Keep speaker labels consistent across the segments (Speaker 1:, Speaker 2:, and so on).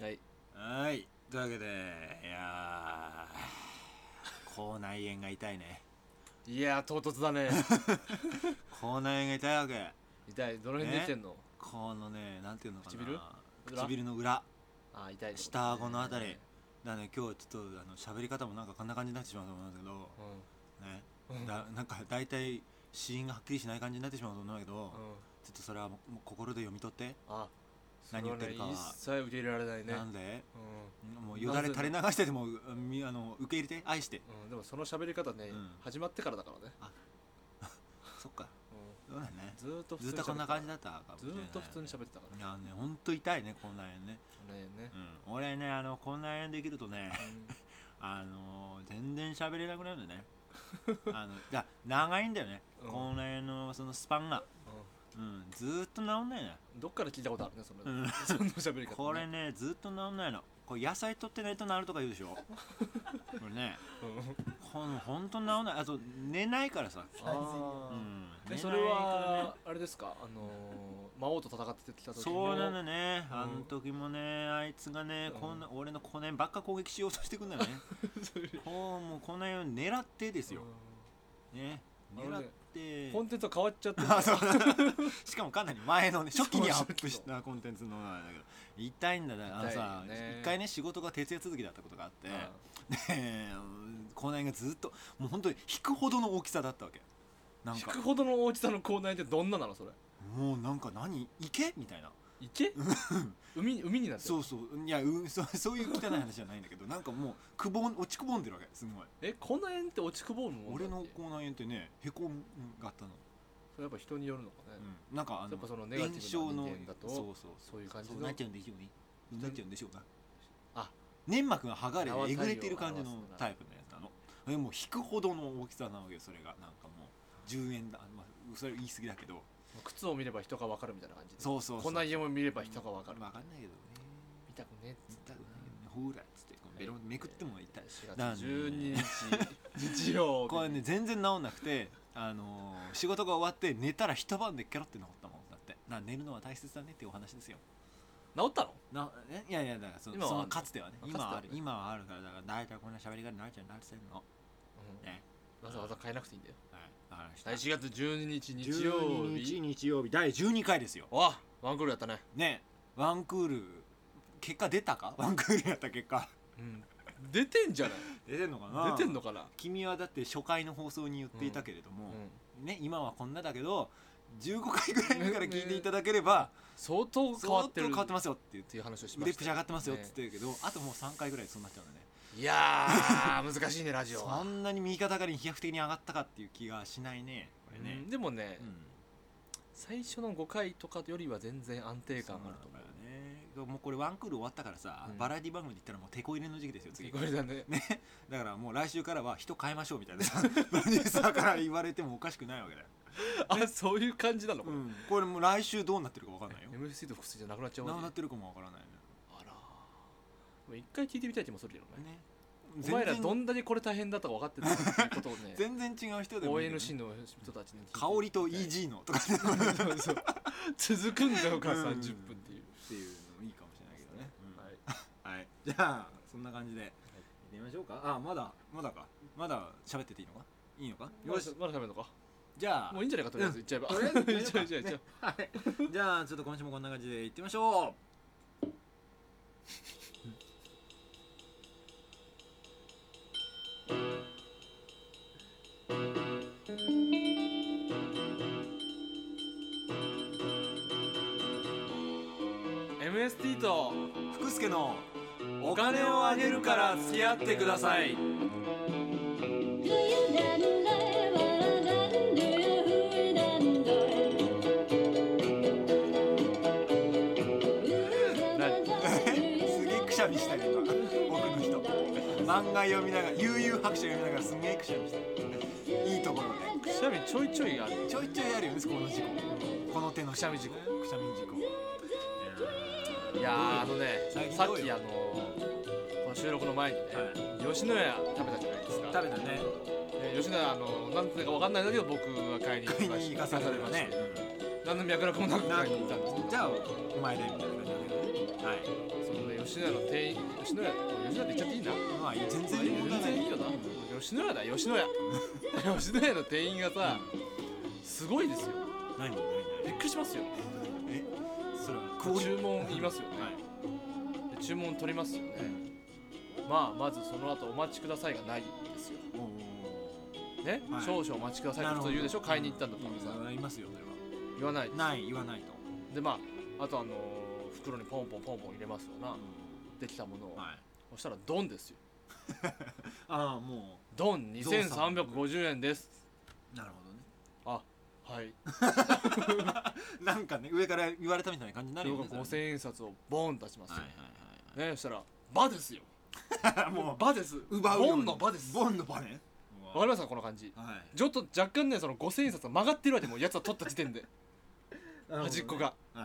Speaker 1: はい
Speaker 2: はいというわけでいやー口内炎が痛いね
Speaker 1: いやー唐突だ ね
Speaker 2: 口内炎が痛いわけ
Speaker 1: 痛いどの辺できてんの、
Speaker 2: このねなんていうのかな
Speaker 1: 唇裏
Speaker 2: 唇の裏
Speaker 1: あー痛いってことね
Speaker 2: 下顎のあたりだね今日ちょっとあの喋り方もなんかこんな感じになってしまうと思うんだけどねだなんか大体死因がはっきりしない感じになってしまうと思うんだけど、
Speaker 1: うん、うん、
Speaker 2: ちょっとそれはもうもう心で読み取って、
Speaker 1: あ
Speaker 2: 何言ってるかは
Speaker 1: それね一切受け入れられないね
Speaker 2: なんで
Speaker 1: うん
Speaker 2: もうよだれ垂れ流してでもみあの受け入れて愛して
Speaker 1: うん、でもその喋り方ね、
Speaker 2: うん
Speaker 1: 始まってからだからね、
Speaker 2: そっか
Speaker 1: う
Speaker 2: そうだね
Speaker 1: ん、ずーっと普通
Speaker 2: ずっ
Speaker 1: に
Speaker 2: とこんな感じだ
Speaker 1: っ
Speaker 2: ったかも
Speaker 1: た
Speaker 2: し
Speaker 1: ず
Speaker 2: れない
Speaker 1: ーっと普通に喋ってたから
Speaker 2: い
Speaker 1: ね
Speaker 2: やねほんと痛いね口内炎ね、
Speaker 1: ねね、
Speaker 2: うん、俺ねあの口内炎できるとねあの全然喋れなくなるんだよねあのだ長いんだよね
Speaker 1: うん
Speaker 2: 口内炎のそのスパンが、
Speaker 1: うん
Speaker 2: うん、ずーっと治んないね
Speaker 1: うんどっから聞いたことあるねその、
Speaker 2: うん
Speaker 1: その喋り方、ね、
Speaker 2: これねずーっと治んないのこれ野菜取ってないと治るとか言うでしょこれね
Speaker 1: うん
Speaker 2: このほんと治んないあと寝ないからさ
Speaker 1: あ
Speaker 2: う
Speaker 1: ー
Speaker 2: ん
Speaker 1: え
Speaker 2: 寝
Speaker 1: それ
Speaker 2: ないからね
Speaker 1: はあれですかあのー、魔王と戦ってきた時の
Speaker 2: そうなのね、
Speaker 1: うん
Speaker 2: あの時もねあいつがね、こんな俺のこの辺ばっか攻撃しようとしてくん だよねこうもうこの辺を狙ってですよ、ね
Speaker 1: あの
Speaker 2: 狙っ
Speaker 1: ね
Speaker 2: て、
Speaker 1: コンテンツは変わっちゃってる
Speaker 2: あそうだしかもかなり前のね初期にア
Speaker 1: そう
Speaker 2: ップしたコンテンツのなんだけど痛いんだねあのさ
Speaker 1: 痛いよね
Speaker 2: 一回ね仕事が徹夜続きだったことがあって、
Speaker 1: あ
Speaker 2: で この辺がずっともう本当に引くほどの大きさだったわけなん
Speaker 1: 引
Speaker 2: か
Speaker 1: くほどの大きさの口内ってどんななのそれ
Speaker 2: もうなんか何池みたいな
Speaker 1: 池 海海になってる
Speaker 2: そうそういやうんそう そういう汚い話じゃないんだけどなんかもうくぼん落ちくぼんでるわけすごい
Speaker 1: えこんな縁って落ちくぼるもん
Speaker 2: 俺の
Speaker 1: そ
Speaker 2: 口内炎ってねへこんがあったの、
Speaker 1: れやっぱ人によるのかね、
Speaker 2: うん、なんかあ
Speaker 1: やっぱその
Speaker 2: の
Speaker 1: ネガティブな
Speaker 2: 炎症の
Speaker 1: 人間だと
Speaker 2: そうそう
Speaker 1: そういう感じ
Speaker 2: そう
Speaker 1: の
Speaker 2: なっちゃうんでしょうねそうなっちゃうんでしょうな
Speaker 1: あ
Speaker 2: 粘膜が剥がれ
Speaker 1: 縄
Speaker 2: てえ
Speaker 1: 太陽
Speaker 2: ぐれてる感じの
Speaker 1: を表すなら
Speaker 2: タイプのやつなのでもう引くほどの大きさなわけよそれがなんかもう10円だ、まあ、それ言い過ぎだけど
Speaker 1: 靴を見れば人がわかるみたいな感じで
Speaker 2: そうそうそう
Speaker 1: こんな家も見れば人がわかる、
Speaker 2: 分かんないけどね
Speaker 1: 見たくねっつっ
Speaker 2: 痛
Speaker 1: て
Speaker 2: くないけどねほらっつってこうベロンめくっても痛い
Speaker 1: 4
Speaker 2: だ
Speaker 1: 月12日日曜日
Speaker 2: これね全然治んなくて、あのー仕事が終わって寝たら一晩でケロって治ったもんだってな寝るのは大切だねっていうお話ですよ
Speaker 1: 治ったの
Speaker 2: なえいやいやだからそ
Speaker 1: 今は
Speaker 2: そ
Speaker 1: あ
Speaker 2: の
Speaker 1: る
Speaker 2: かつてはね
Speaker 1: あ
Speaker 2: 今はあ
Speaker 1: かつては
Speaker 2: る
Speaker 1: ね
Speaker 2: 今はあるからだから大体こんな喋り方になっちゃうなってんの
Speaker 1: うん
Speaker 2: ね
Speaker 1: わざわざ変えなくていいんだよ
Speaker 2: はいわかりました
Speaker 1: はい4月12日日曜
Speaker 2: 12日
Speaker 1: 日
Speaker 2: 日曜日第12回ですよ
Speaker 1: わワンクールやったね
Speaker 2: ねワンクール結果出たか ワンクールやった結果
Speaker 1: うん出てんじゃない
Speaker 2: 出てんのか
Speaker 1: 出てんのかな
Speaker 2: 君はだって初回の放送に言っていたけれど
Speaker 1: う
Speaker 2: も、
Speaker 1: ん
Speaker 2: ね今はこんなだけど15回ぐらい目から聞いていただければ、
Speaker 1: 相当変わってる
Speaker 2: 相当変わって
Speaker 1: っ
Speaker 2: ますよって言って
Speaker 1: ていう話をしま
Speaker 2: 腕
Speaker 1: し
Speaker 2: プ
Speaker 1: た
Speaker 2: シ上がってますよっ
Speaker 1: ね
Speaker 2: て言ってるけど、あともう3回ぐらいでそうなっちゃうんだね
Speaker 1: いやー難しいねラジオ
Speaker 2: そ
Speaker 1: は、
Speaker 2: んなに右肩上がりに飛躍的に上がったかっていう気がしないねこれね
Speaker 1: うんでもね、
Speaker 2: うん
Speaker 1: 最初の5回とかよりは全然安定感あると思う
Speaker 2: そうなんだよねもうこれワンクール終わったからさ、
Speaker 1: うん
Speaker 2: バラエティ番組で言ったらもう手こ入れの時期ですよ次
Speaker 1: これだね
Speaker 2: だからもう来週からは人変えましょうみたいなさ プロデューサーから言われてもおかしくないわけだ よ、
Speaker 1: あそういう感じなのこ
Speaker 2: う
Speaker 1: れ、
Speaker 2: ん、これもう来週どうなってるかわかんないよ
Speaker 1: MC と複数じゃなくなっちゃうわ
Speaker 2: 何
Speaker 1: け
Speaker 2: なってるかもわからないね
Speaker 1: あらでも一回聞いてみたい気もするけどね
Speaker 2: ね
Speaker 1: お前らど
Speaker 2: ん
Speaker 1: んだけこれ大変だったか分かってるのかっていうことをね
Speaker 2: 全然違う人でもいいけどね
Speaker 1: ONC の人たちに聞いてみたい
Speaker 2: 香りと EG のとかね
Speaker 1: そうそう 続くんだよから30
Speaker 2: うん
Speaker 1: 分っていう、
Speaker 2: っていうのもいいかもしれないけどね、うん
Speaker 1: はい、
Speaker 2: はい、じゃあそんな感じで行ってみましょうかあまだまだかまだ喋ってていいのかいいのかよし
Speaker 1: まだ食べるのか
Speaker 2: じゃあ
Speaker 1: もういいんじゃないかとりあえず言っちゃえば
Speaker 2: とりあえず
Speaker 1: 言っちゃえば言っちゃえば言っちゃえば
Speaker 2: ねはい じゃあちょっと今週もこんな感じで行ってみましょ
Speaker 1: 言っちゃえば MST と
Speaker 2: う福助の
Speaker 1: お金をあげるから付き合ってください
Speaker 3: Do you then lay what I do you who then die?
Speaker 2: すげえくしゃみしたね今奥の人漫画読みながら悠々白書読みながらすげえくしゃみしたいいところで
Speaker 1: くしゃみちょいちょいある
Speaker 2: ちょいちょいあるよねこの事故この手の
Speaker 1: くしゃみ事故
Speaker 2: くしゃみ事故
Speaker 1: いやーあのね
Speaker 2: 最近
Speaker 1: さ
Speaker 2: ど
Speaker 1: っ
Speaker 2: うよ
Speaker 1: きあのこの収録の前にね、吉野家食べたじゃないですか
Speaker 2: 食べたね
Speaker 1: ね吉野家あの何ていうか分かんないんだけど僕は買いに行
Speaker 2: 食い
Speaker 1: きま
Speaker 2: に
Speaker 1: し
Speaker 2: 行
Speaker 1: た
Speaker 2: かされるね、
Speaker 1: 何の脈絡もなく
Speaker 2: な
Speaker 1: 買いに行ったんですけど
Speaker 2: じゃあお前でみたいな感じだけどねはい
Speaker 1: そのね吉野家の店員吉野家吉野家って言っちゃっていいな
Speaker 2: まあ全然問題
Speaker 1: 全
Speaker 2: ない
Speaker 1: 然いいよな吉野家だ吉 野家吉野家の店員がさすごいですよ
Speaker 2: 何何
Speaker 1: びっくりしますよ
Speaker 2: 何えそれはクオリ
Speaker 1: 注文言いますよね
Speaker 2: はい
Speaker 1: で注文取りますよねまあまずその後お待ちくださいがないんですよ
Speaker 2: おー
Speaker 1: ね、
Speaker 2: はい
Speaker 1: 少々お待ちくださいって普通言うでしょ買いに行ったんだったらさ
Speaker 2: 言いますよそれは
Speaker 1: 言わない
Speaker 2: ない言わないと、
Speaker 1: でまああとあのー袋にポンポンポンポン入れますよな、できたものを、
Speaker 2: はい
Speaker 1: そしたらドンですよ
Speaker 2: ああも
Speaker 1: ドン2350円です
Speaker 2: うなるほ
Speaker 1: あはい
Speaker 2: どねなんかね上から言われたみたいな感じになるよ
Speaker 1: 僕
Speaker 2: ね
Speaker 1: が5000円札をボーン出しますよ、
Speaker 2: はい
Speaker 1: ねそしたらバですよ
Speaker 2: はいはい も
Speaker 1: バです
Speaker 2: う奪う
Speaker 1: ボンのバですわ
Speaker 2: ボンの場ね
Speaker 1: かりますかこの感じ
Speaker 2: はい
Speaker 1: ちょっと若干ねその5000円札が曲がってるわけもうやつは取った時点で端っこが
Speaker 2: はい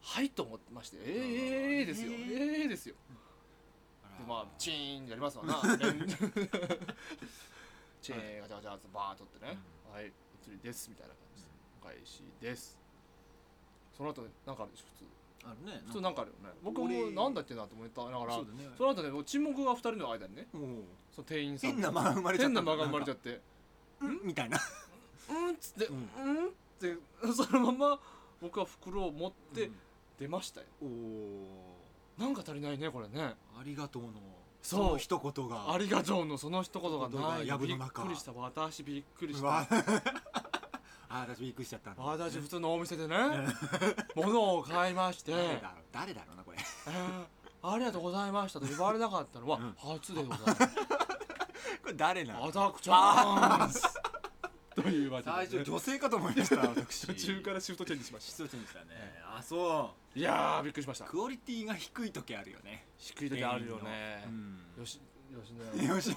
Speaker 1: はいと思ってましてえーえーえーですよ
Speaker 2: え
Speaker 1: え
Speaker 2: ー
Speaker 1: ーえーですよでまあチーンってやりますわ なチーンガチャガチャガチャバーッとってね、はいお釣りですみたいな感じでお返しですその後なんかあるでしょ普通
Speaker 2: あるね
Speaker 1: 普通なんかあるよね僕も
Speaker 2: 俺
Speaker 1: なんだっけなと思っただから
Speaker 2: そ
Speaker 1: そう
Speaker 2: だね
Speaker 1: の後ねもう沈黙が二人の間にね
Speaker 2: おー
Speaker 1: その店員さん
Speaker 2: 変な間が生まれちゃっ
Speaker 1: 変
Speaker 2: た
Speaker 1: な間が生まれちゃ
Speaker 2: っ
Speaker 1: って
Speaker 2: たみたいな
Speaker 1: うんっつって
Speaker 2: う
Speaker 1: うんんってそのまま僕は袋を持って
Speaker 2: うん
Speaker 1: 出ましたよ
Speaker 2: お
Speaker 1: なんか足りないねこれね
Speaker 2: ーありがとうの
Speaker 1: そう
Speaker 2: の一言が
Speaker 1: ありがとうのその一言がない
Speaker 2: 言葉が藪
Speaker 1: び
Speaker 2: の
Speaker 1: っ
Speaker 2: 中
Speaker 1: くりした私びっくりし
Speaker 2: うわ
Speaker 1: た
Speaker 2: あ私びっくりしちゃったんだ
Speaker 1: 私普通のお店 でね物を買いまして
Speaker 2: 誰だろう誰だろうなこれ
Speaker 1: えーありがとうございましたと言われなかったのは
Speaker 2: うん
Speaker 1: 初でございます
Speaker 2: これ誰なの
Speaker 1: 私チャ ンスというわけ
Speaker 2: 最
Speaker 1: で
Speaker 2: 初
Speaker 1: ね
Speaker 2: 女性かと思い ました私
Speaker 1: 途中からシフトチェンジしまし
Speaker 2: 失礼しましたねあそ
Speaker 1: たいやーびっくりしまし
Speaker 2: う
Speaker 1: た
Speaker 2: クオリティが低い時あるよね
Speaker 1: 低い時あるよね
Speaker 2: うん
Speaker 1: よし吉野
Speaker 2: よしよし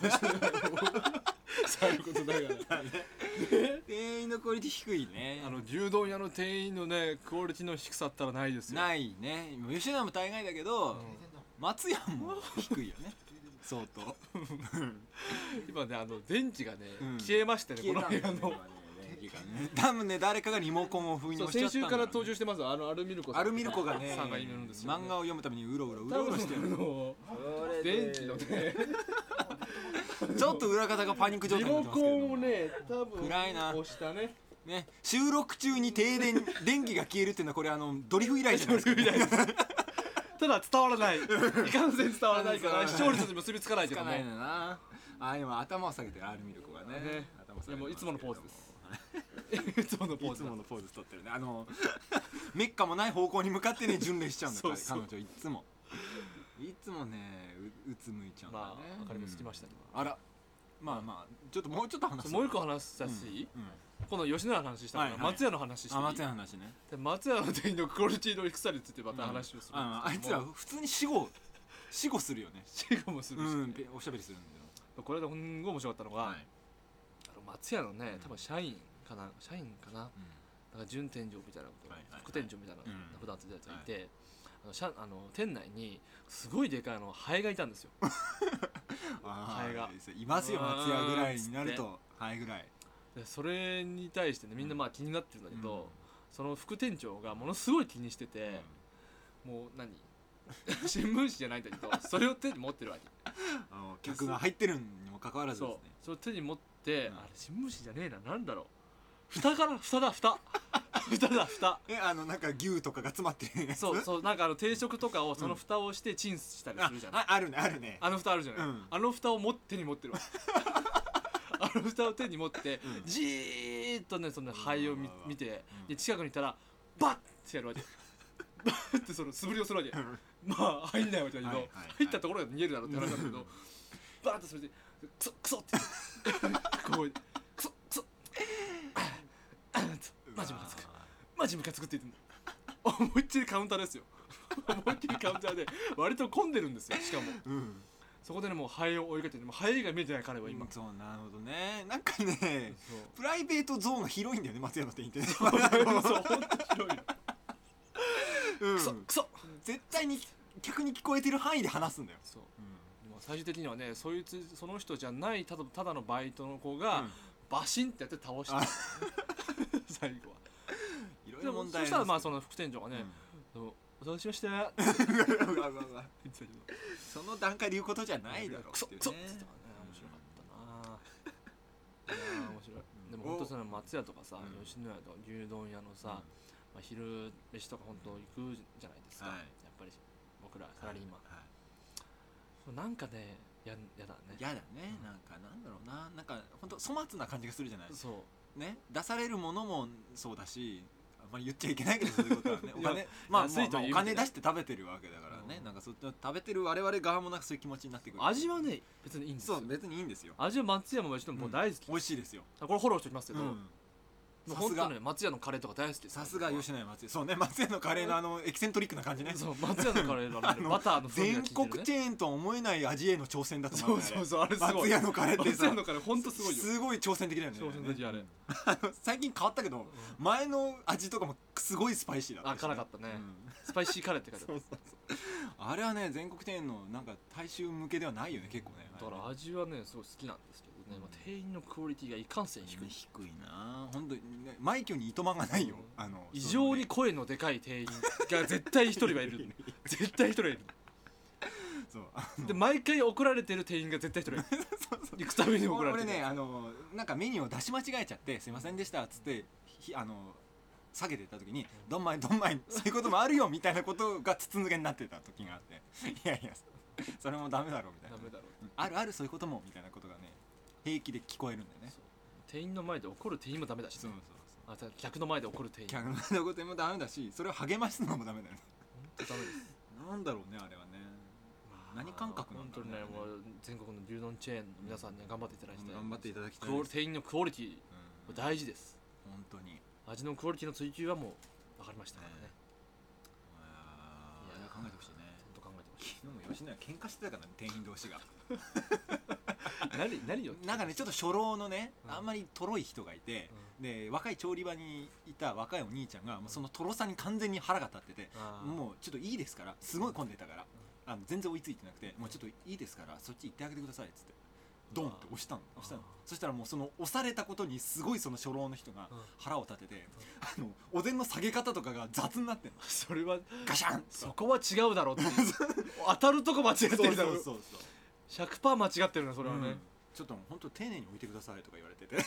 Speaker 1: そういうことだから
Speaker 2: 店員のクオリティ低いね
Speaker 1: あの牛丼屋の店員のねクオリティの低さったらないですよ
Speaker 2: ないね吉野も大概だけど松屋も低いよね相当
Speaker 1: 今ねあの電気がね
Speaker 2: うん
Speaker 1: 消えましたねこの部
Speaker 2: 消えた
Speaker 1: 屋
Speaker 2: んだよ
Speaker 1: の
Speaker 2: ね今ね多分ね誰かがリモコンを封印
Speaker 1: そ
Speaker 2: を
Speaker 1: う
Speaker 2: しちゃ
Speaker 1: 先
Speaker 2: った
Speaker 1: 週
Speaker 2: んだ
Speaker 1: から
Speaker 2: ろうね
Speaker 1: 登場してますあのアルミルコさん
Speaker 2: アルミルコがね
Speaker 1: さんがいるんですよね
Speaker 2: 漫画を読むためにうろうろう
Speaker 1: 多
Speaker 2: ろうろ
Speaker 1: 分
Speaker 2: してる
Speaker 1: あの電気のね
Speaker 2: ちょっと裏方がパニック状態
Speaker 1: リ
Speaker 2: になっ
Speaker 1: モ
Speaker 2: てます
Speaker 1: コ
Speaker 2: けれど
Speaker 1: ン
Speaker 2: も
Speaker 1: をね多分
Speaker 2: 暗いな
Speaker 1: 押したね
Speaker 2: ね収録中に停電電気が消えるっていうのはこれあのドリフ以来じゃないですか、ね、
Speaker 1: ただ伝わら ないいかんせん伝わらないか
Speaker 2: 伝わらない
Speaker 1: ら視聴率に結びつかないけ
Speaker 2: つ
Speaker 1: ども
Speaker 2: か ないのなあでも頭を下げてるアルミルコがね
Speaker 1: ね
Speaker 2: 頭を下
Speaker 1: で
Speaker 2: げてますけれど
Speaker 1: もいつものポーズですいつものポ
Speaker 2: い
Speaker 1: ー
Speaker 2: つ
Speaker 1: ズ
Speaker 2: ものポーズ取ってるねあの メッカもない方向に向かってね巡礼しちゃうんだ
Speaker 1: そうそう
Speaker 2: 彼女いつもいつもねううつむいちゃうんだね
Speaker 1: まあ明かりもつきましたけ
Speaker 2: うんあらまあまあちょっともうちょっと話す
Speaker 1: もう一個話したし、
Speaker 2: うん
Speaker 1: この吉野家の話したから、
Speaker 2: はいはい
Speaker 1: 松屋の話してい
Speaker 2: あ
Speaker 1: い
Speaker 2: 松屋の話ね
Speaker 1: で松屋の店員のクオリティの低さについてまた話をする
Speaker 2: ああいつ ら普通に死後死後するよね
Speaker 1: シェもするし、
Speaker 2: うんべおしゃべりするん
Speaker 1: これでほんご面白かったのが、
Speaker 2: だよはい
Speaker 1: あの松屋のね多分社員かな社員かななんか準店長みたいなこと、
Speaker 2: はいはいはい
Speaker 1: 副店長みたいな
Speaker 2: うん
Speaker 1: 普段ついたやつがいて、あの社あの店内にすごいでかいあのハエがいたんですよ
Speaker 2: あ
Speaker 1: ハ
Speaker 2: ー
Speaker 1: エが
Speaker 2: いますよ
Speaker 1: うわー
Speaker 2: 松屋ぐらいになるとハエぐらい
Speaker 1: でそれに対してねみんなまあ気になってるんだけど、その副店長がものすごい気にしてて、もう何 新聞紙じゃないん だけどそれを手に持ってるわけ
Speaker 2: あの客が入ってるにもかかわらずですね
Speaker 1: そうそれを手に持って、
Speaker 2: うん
Speaker 1: あれ新聞紙じゃねえななんだろう蓋から蓋だ蓋 蓋だ蓋
Speaker 2: えあのなんか牛とかが詰まってるやつ
Speaker 1: そうそうなんかあの定食とかをその蓋をしてチンしたり
Speaker 2: あ
Speaker 1: するじゃない、
Speaker 2: ああるねあるね
Speaker 1: あの蓋あるじゃない、
Speaker 2: うん
Speaker 1: あの蓋を持手に持ってる わあの蓋を手に持って、
Speaker 2: うん
Speaker 1: じーっとねその灰を見
Speaker 2: うわうわ
Speaker 1: 見て、
Speaker 2: うん
Speaker 1: で近くにいたらバッてやるわけバッてその素振りをするわけまあ入んないわけだけど、
Speaker 2: はいはいはい
Speaker 1: 入ったところが逃げるだろうって話なんだけどバーッとそれでクソクソってこうクソクソああマジムカつくマジムカつくって言ってんの思いっきりカウンターですよ思いっきりカウンターで割と混んでるんですよしかも
Speaker 2: うん
Speaker 1: そこでねもうハエを追いかけてねもうハエが見えてない彼は今、
Speaker 2: うんそうなるほどねなんかね
Speaker 1: そう
Speaker 2: プライベートゾーンが広いんだよね松山店員ってね
Speaker 1: そうほんと広いよ
Speaker 2: う ん
Speaker 1: クソクソ
Speaker 2: 絶対に客に聞こえてる範囲で話すんだよ
Speaker 1: そうでも最終的にはねそいつその人じゃないただただのバイトの子が、
Speaker 2: うん
Speaker 1: バシンってやって倒した 最後はい
Speaker 2: ろい
Speaker 1: で
Speaker 2: ろ
Speaker 1: も
Speaker 2: 問
Speaker 1: そ
Speaker 2: 題
Speaker 1: したらまあ
Speaker 2: そ
Speaker 1: その副店長がね、でもお騒がせしました って
Speaker 2: うわうわうわ
Speaker 1: 言ってたけど
Speaker 2: その段階で言うことじゃないだろう
Speaker 1: クソ
Speaker 2: ってい
Speaker 1: ク
Speaker 2: う
Speaker 1: ソっ
Speaker 2: ね
Speaker 1: つってたからね面白かったないやー面白いでも本当その松屋とかさ、
Speaker 2: うん
Speaker 1: 吉野家とか牛丼屋のさ、まあ、昼飯とか本当行くじゃないですか、
Speaker 2: はい
Speaker 1: やっぱり僕らサラリーマン、
Speaker 2: はい
Speaker 1: なんかねやんやだね
Speaker 2: 嫌だねなんかなんだろうななんか本当粗末な感じがするじゃない
Speaker 1: そう
Speaker 2: ね出されるものもそうだしあんまり言っちゃいけないけどそういうことは ねお
Speaker 1: い
Speaker 2: 金
Speaker 1: や
Speaker 2: まあ
Speaker 1: 安いと
Speaker 2: まあま
Speaker 1: いう
Speaker 2: あ
Speaker 1: 意
Speaker 2: お
Speaker 1: 味で
Speaker 2: 金出して食べてるわけだからね
Speaker 1: うん
Speaker 2: なんかそう食べてる我々側もなんかそういう気持ちになってくる
Speaker 1: 味はね別にいいんです
Speaker 2: そ
Speaker 1: よ
Speaker 2: う別にいいんですよ
Speaker 1: 味は松屋も吉野家も大好き、
Speaker 2: 美味しいですよ
Speaker 1: これフォローしておきますけど、
Speaker 2: う
Speaker 1: も
Speaker 2: ん
Speaker 1: う
Speaker 2: さす
Speaker 1: 本当
Speaker 2: が
Speaker 1: にね松屋のカレーとか大好きです
Speaker 2: さすが吉野家松江そうね松江のカレーのあのエキセントリックな感じね
Speaker 1: そう松屋のカレーだ
Speaker 2: あ
Speaker 1: ね
Speaker 2: の
Speaker 1: バターの風味が
Speaker 2: 全
Speaker 1: 効いてる
Speaker 2: 国チェーンとは思えない味への挑戦だと
Speaker 1: そ
Speaker 2: 思う
Speaker 1: うん
Speaker 2: だよ
Speaker 1: そう
Speaker 2: ね
Speaker 1: そうあれすご
Speaker 2: 松
Speaker 1: い
Speaker 2: 屋のカレーって
Speaker 1: 松
Speaker 2: さ
Speaker 1: 屋のカレー本当すごいよ
Speaker 2: すごい挑戦的だよね
Speaker 1: 挑戦的あれ
Speaker 2: あの最近変わったけど前の味とかもすごいスパイシーだったし
Speaker 1: あ辛かったね
Speaker 2: うん
Speaker 1: スパイシーカレーって書いてあ
Speaker 2: そ
Speaker 1: る
Speaker 2: うそうそうあれはね全国店のなんか大衆向けではないよね結構ね
Speaker 1: だから味はねすごい好きなんですけどね、まあ、店員のクオリティがいかんせん低い、
Speaker 2: 低いな本当にね毎挙にいとまがないよ、
Speaker 1: うん
Speaker 2: あの
Speaker 1: 異常に声のでかい店員が絶対一人はいる 絶対一人はいる
Speaker 2: そうあ
Speaker 1: で毎回怒られてる店員が絶対一 人いる行くたびに怒られ
Speaker 2: 俺
Speaker 1: てる
Speaker 2: ねあのなんかメニューを出し間違えちゃって「すいませんでした」っつってひあの下げてた時に「どんまいどんまいそういうこともあるよ」みたいなことが筒抜けになってた時があって「いやいやそれもダメだろ」みたい
Speaker 1: ダ
Speaker 2: な
Speaker 1: メだろう
Speaker 2: うんあるあるそういうことも」みたいなことがね平気で聞こえるんだよね
Speaker 1: そう店員の前で怒る店員もダメだしね、
Speaker 2: そうそうそう
Speaker 1: あた客の前で怒る店員
Speaker 2: 客のこともダメだしそれを励ますのもダメだよね
Speaker 1: 本当ダメです
Speaker 2: なんだろうねあれはね何感覚なん
Speaker 1: 本
Speaker 2: だ
Speaker 1: 当
Speaker 2: ろう
Speaker 1: に
Speaker 2: ね
Speaker 1: ねもう全国の牛丼チェーンの皆さんには頑張っていただきたい、
Speaker 2: 頑張っていただきたい
Speaker 1: クオリ店員のクオリティ
Speaker 2: うん
Speaker 1: 大事です
Speaker 2: 本当に
Speaker 1: 味のクオリティの追求はもう分かりましたからね
Speaker 2: ねあー
Speaker 1: いや
Speaker 2: 考えてほしいね
Speaker 1: 本当考えてほしい
Speaker 2: 昨日も吉野家喧嘩してたからね店員同士が
Speaker 1: 何何よ
Speaker 2: なんかねちょっと初老のね
Speaker 1: うん
Speaker 2: あんまりとろい人がいてで若い調理場にいた若いお兄ちゃんがもうそのとろさに完全に腹が立ってて
Speaker 1: も
Speaker 2: もうちょっといいですからすごい混んでたからあの全然追いついてなくてもうちょっといいですからそっち行ってあげてくださいっつってドンって押したの
Speaker 1: あー
Speaker 2: 押したのそしたらもうその押されたことにすごいその初老の人が
Speaker 1: うん
Speaker 2: 腹を立ててあのお膳の下げ方とかが雑になってんの
Speaker 1: うそれは
Speaker 2: ガシャン
Speaker 1: そこは違うだろうっていう 当たるとこ間違ってるだろ
Speaker 2: そうそうそう
Speaker 1: 100%間違ってるなそ
Speaker 2: そ
Speaker 1: れはね、
Speaker 2: ちょっと本当丁寧に置いてくださいとか言われてて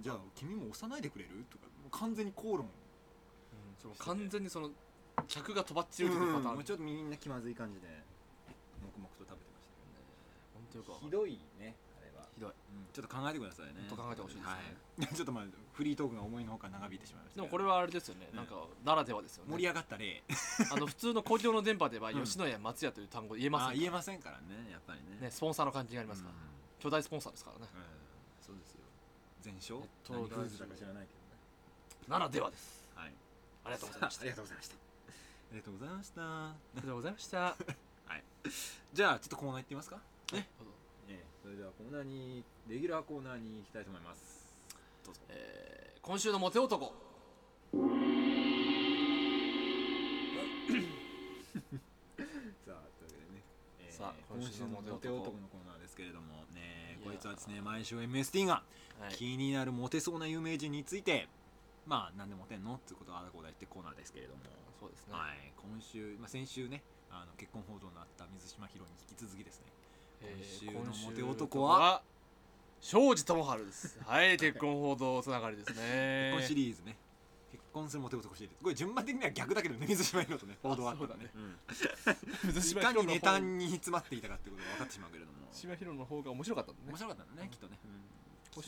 Speaker 2: じゃあ君も押さないでくれるとかもう完全に口論
Speaker 1: その完全にその客が飛ばっちり打ってくるパターン、
Speaker 2: もう
Speaker 1: ね
Speaker 2: ちょっとみんな気まずい感じで黙々と食べてまし
Speaker 1: ほんとよく
Speaker 2: た
Speaker 1: わ
Speaker 2: け
Speaker 1: か
Speaker 2: ど
Speaker 1: んない
Speaker 2: ひどいねあれは
Speaker 1: ひどい
Speaker 2: ちょっと考えてくださいね
Speaker 1: ほんと考えてほしいですね
Speaker 2: はいちょっとまあフリートークが思いのほか長引いてしまいました
Speaker 1: で
Speaker 2: けど
Speaker 1: もこれはあれですよね、なんかならではですよね
Speaker 2: 盛り上がった例
Speaker 1: あの普通の公共の電波では
Speaker 2: うん
Speaker 1: 吉野家松屋という単語言えま
Speaker 2: まあ
Speaker 1: せん、
Speaker 2: 言えませんからねやっぱりね
Speaker 1: ね、スポンサーの関係がありますから、
Speaker 2: う
Speaker 1: 巨大スポンサーですからね
Speaker 2: んうんそうですよ全勝
Speaker 1: えっと
Speaker 2: 何フーズだか知らないけどね
Speaker 1: ならではです
Speaker 2: はい
Speaker 1: ありがとうござい
Speaker 2: あ
Speaker 1: ました
Speaker 2: りがとうございましたありがとうございました
Speaker 1: ありがとうございました
Speaker 2: じゃあちょっとコーナー行ってみますかね
Speaker 1: どうぞ
Speaker 2: それではコーナーにレギュラーコーナーに行きたいと思いますどうぞ
Speaker 1: えー今週のモテ男
Speaker 2: さあというわけでねえー
Speaker 1: さあ
Speaker 2: 今週の
Speaker 1: 今週の
Speaker 2: モ
Speaker 1: モテ
Speaker 2: テ男
Speaker 1: 男
Speaker 2: のコーナーですけれどもね
Speaker 1: いや
Speaker 2: こいつはですね毎週 MST が
Speaker 1: はい
Speaker 2: 気になるモテそうな有名人についてまあなんでモテんのっていうことをあだこうだ言ってコーナーですけれども
Speaker 1: そうですね、
Speaker 2: はい今週まあ先週ねあの結婚報道のあった水島ヒロに引き続きですね
Speaker 1: えー
Speaker 2: 今週のモテ男
Speaker 1: 今週
Speaker 2: は
Speaker 1: 庄司智春です はい結婚報道つながりですね
Speaker 2: 結婚シリーズね結婚するモテ男シリーズこれ順番的には逆だけどね水島ヒロとね報道あったらねうん いかにネタに詰まっていたかってことが分かってしまうけれども
Speaker 1: 水島ひろの方が面白かったんだ
Speaker 2: 面
Speaker 1: ね
Speaker 2: 白かったんだねきっとね、
Speaker 1: うん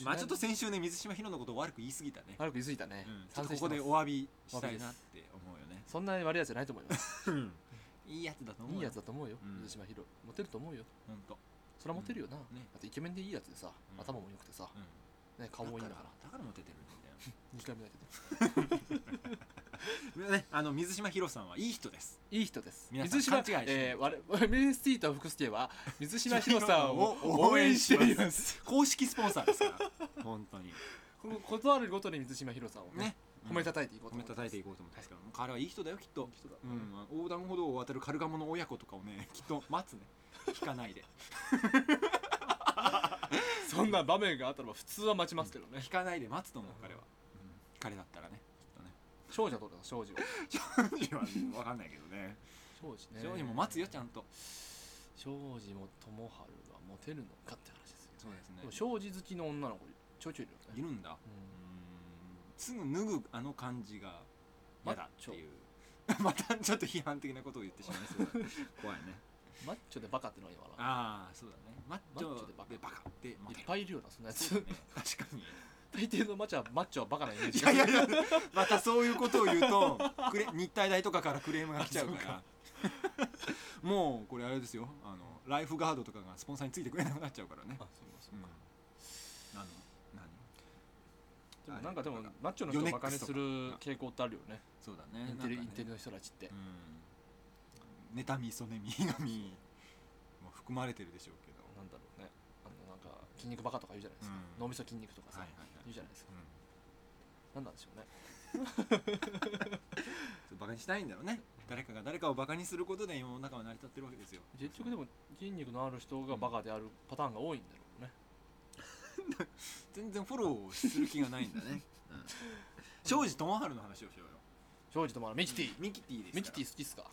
Speaker 2: まあちょっと先週ね水島ひろのことを悪く言い過ぎたね、
Speaker 1: 悪く言い過ぎたね、
Speaker 2: うんちょ
Speaker 1: 賛成
Speaker 2: っとこ
Speaker 1: してま
Speaker 2: こ
Speaker 1: す
Speaker 2: でお詫びしたいなって思うよね
Speaker 1: そんな悪いやつじゃないと思います
Speaker 2: いいやつだと思う
Speaker 1: い
Speaker 2: よ
Speaker 1: いやつだと思うよ、
Speaker 2: うん
Speaker 1: 水島ひろモテると思うよ
Speaker 2: ほんと
Speaker 1: それはモテるよな、
Speaker 2: ね
Speaker 1: だってイケメンでいいやつでさ、
Speaker 2: うん
Speaker 1: 頭も良くてさ、
Speaker 2: うん
Speaker 1: ね、顔もいいんだから
Speaker 2: だからモテてるんだよ
Speaker 1: 2回目だけ
Speaker 2: ね、あの水島ひろさんはいい人です。
Speaker 1: でいい人です
Speaker 2: 皆さん
Speaker 1: 水島
Speaker 2: 勘違いして
Speaker 1: えー、我々 MST と福助は水島ひろさん を応援しています
Speaker 2: す。 公式スポンサーですから、本当に。
Speaker 1: この断るごとに水島ひろさんをね
Speaker 2: ね、
Speaker 1: 褒めた
Speaker 2: て、
Speaker 1: たいていこうと思
Speaker 2: 褒め
Speaker 1: います
Speaker 2: たたいていこうと思ってますから、彼はいい人だよきっと。
Speaker 1: 人だ
Speaker 2: うん、横断歩道を渡るカルガモの親子とかをね、きっと待つ ね。引かないで。
Speaker 1: そんな場面があったらば普通は待ちますけどね
Speaker 2: 引かないで待つと思う、彼は。うん彼だったらね、きっとね。
Speaker 1: 庄司はどうだ庄司は
Speaker 2: 庄司は分かんないけどね
Speaker 1: 庄司ね
Speaker 2: 庄司も待つよちゃんと
Speaker 1: 庄司も友春はモテるのかって話ですよ
Speaker 2: そうですね
Speaker 1: でも庄司好きの女の子ちょいちょいいるよね
Speaker 2: いるんだ
Speaker 1: う
Speaker 2: うんーんすぐ脱ぐあの感じが嫌だっていう またちょっと批判的なことを言ってしまいそうだ 怖いね
Speaker 1: マッチョでバカってのが今な
Speaker 2: ああそうだねマッチ
Speaker 1: マッチョ
Speaker 2: ョ
Speaker 1: でバカ
Speaker 2: でバカって
Speaker 1: いっ
Speaker 2: い
Speaker 1: ぱいいるよなそんなやつ、
Speaker 2: ね 確かに
Speaker 1: 大抵のマッチョはマッチョはバカなイメージ
Speaker 2: いやいやいやまたそういうことを言うとクレ日体大とかからクレームが来ちゃうからもうこれあれですよあのライフガードとかがスポンサーについてくれなくなっちゃうからね
Speaker 1: あ、そうかそううんか、
Speaker 2: 何何
Speaker 1: でもなんかでも
Speaker 2: あれ
Speaker 1: マッチョの人を
Speaker 2: ヨネッ
Speaker 1: バカ
Speaker 2: ク
Speaker 1: に
Speaker 2: スと
Speaker 1: す
Speaker 2: か
Speaker 1: る傾向ってあるよね
Speaker 2: そうだね
Speaker 1: インテリ
Speaker 2: な
Speaker 1: イン
Speaker 2: んかね
Speaker 1: テリの人たちって
Speaker 2: うん妬み嫉み恨みも含まれてるでしょうけど
Speaker 1: なんだろうねあのなんか筋肉バカとか言うじゃないですか、
Speaker 2: うん
Speaker 1: 脳みそ筋肉とかさ、
Speaker 2: はいはいはい
Speaker 1: 言うじゃないですか
Speaker 2: うん
Speaker 1: なんなんでしょうね
Speaker 2: そうバカにしたいんだろうね誰かが誰かをバカにすることで世の中は成り立ってるわけですよ
Speaker 1: 結局でも筋肉のある人がバカであるパターンが多いんだろうね、
Speaker 2: 全然フォローをする気がないんだ ね、うん、庄司智春の話をしようよ
Speaker 1: 庄司ともあのミキティ、
Speaker 2: ミキティですから
Speaker 1: ミキティ好きっすか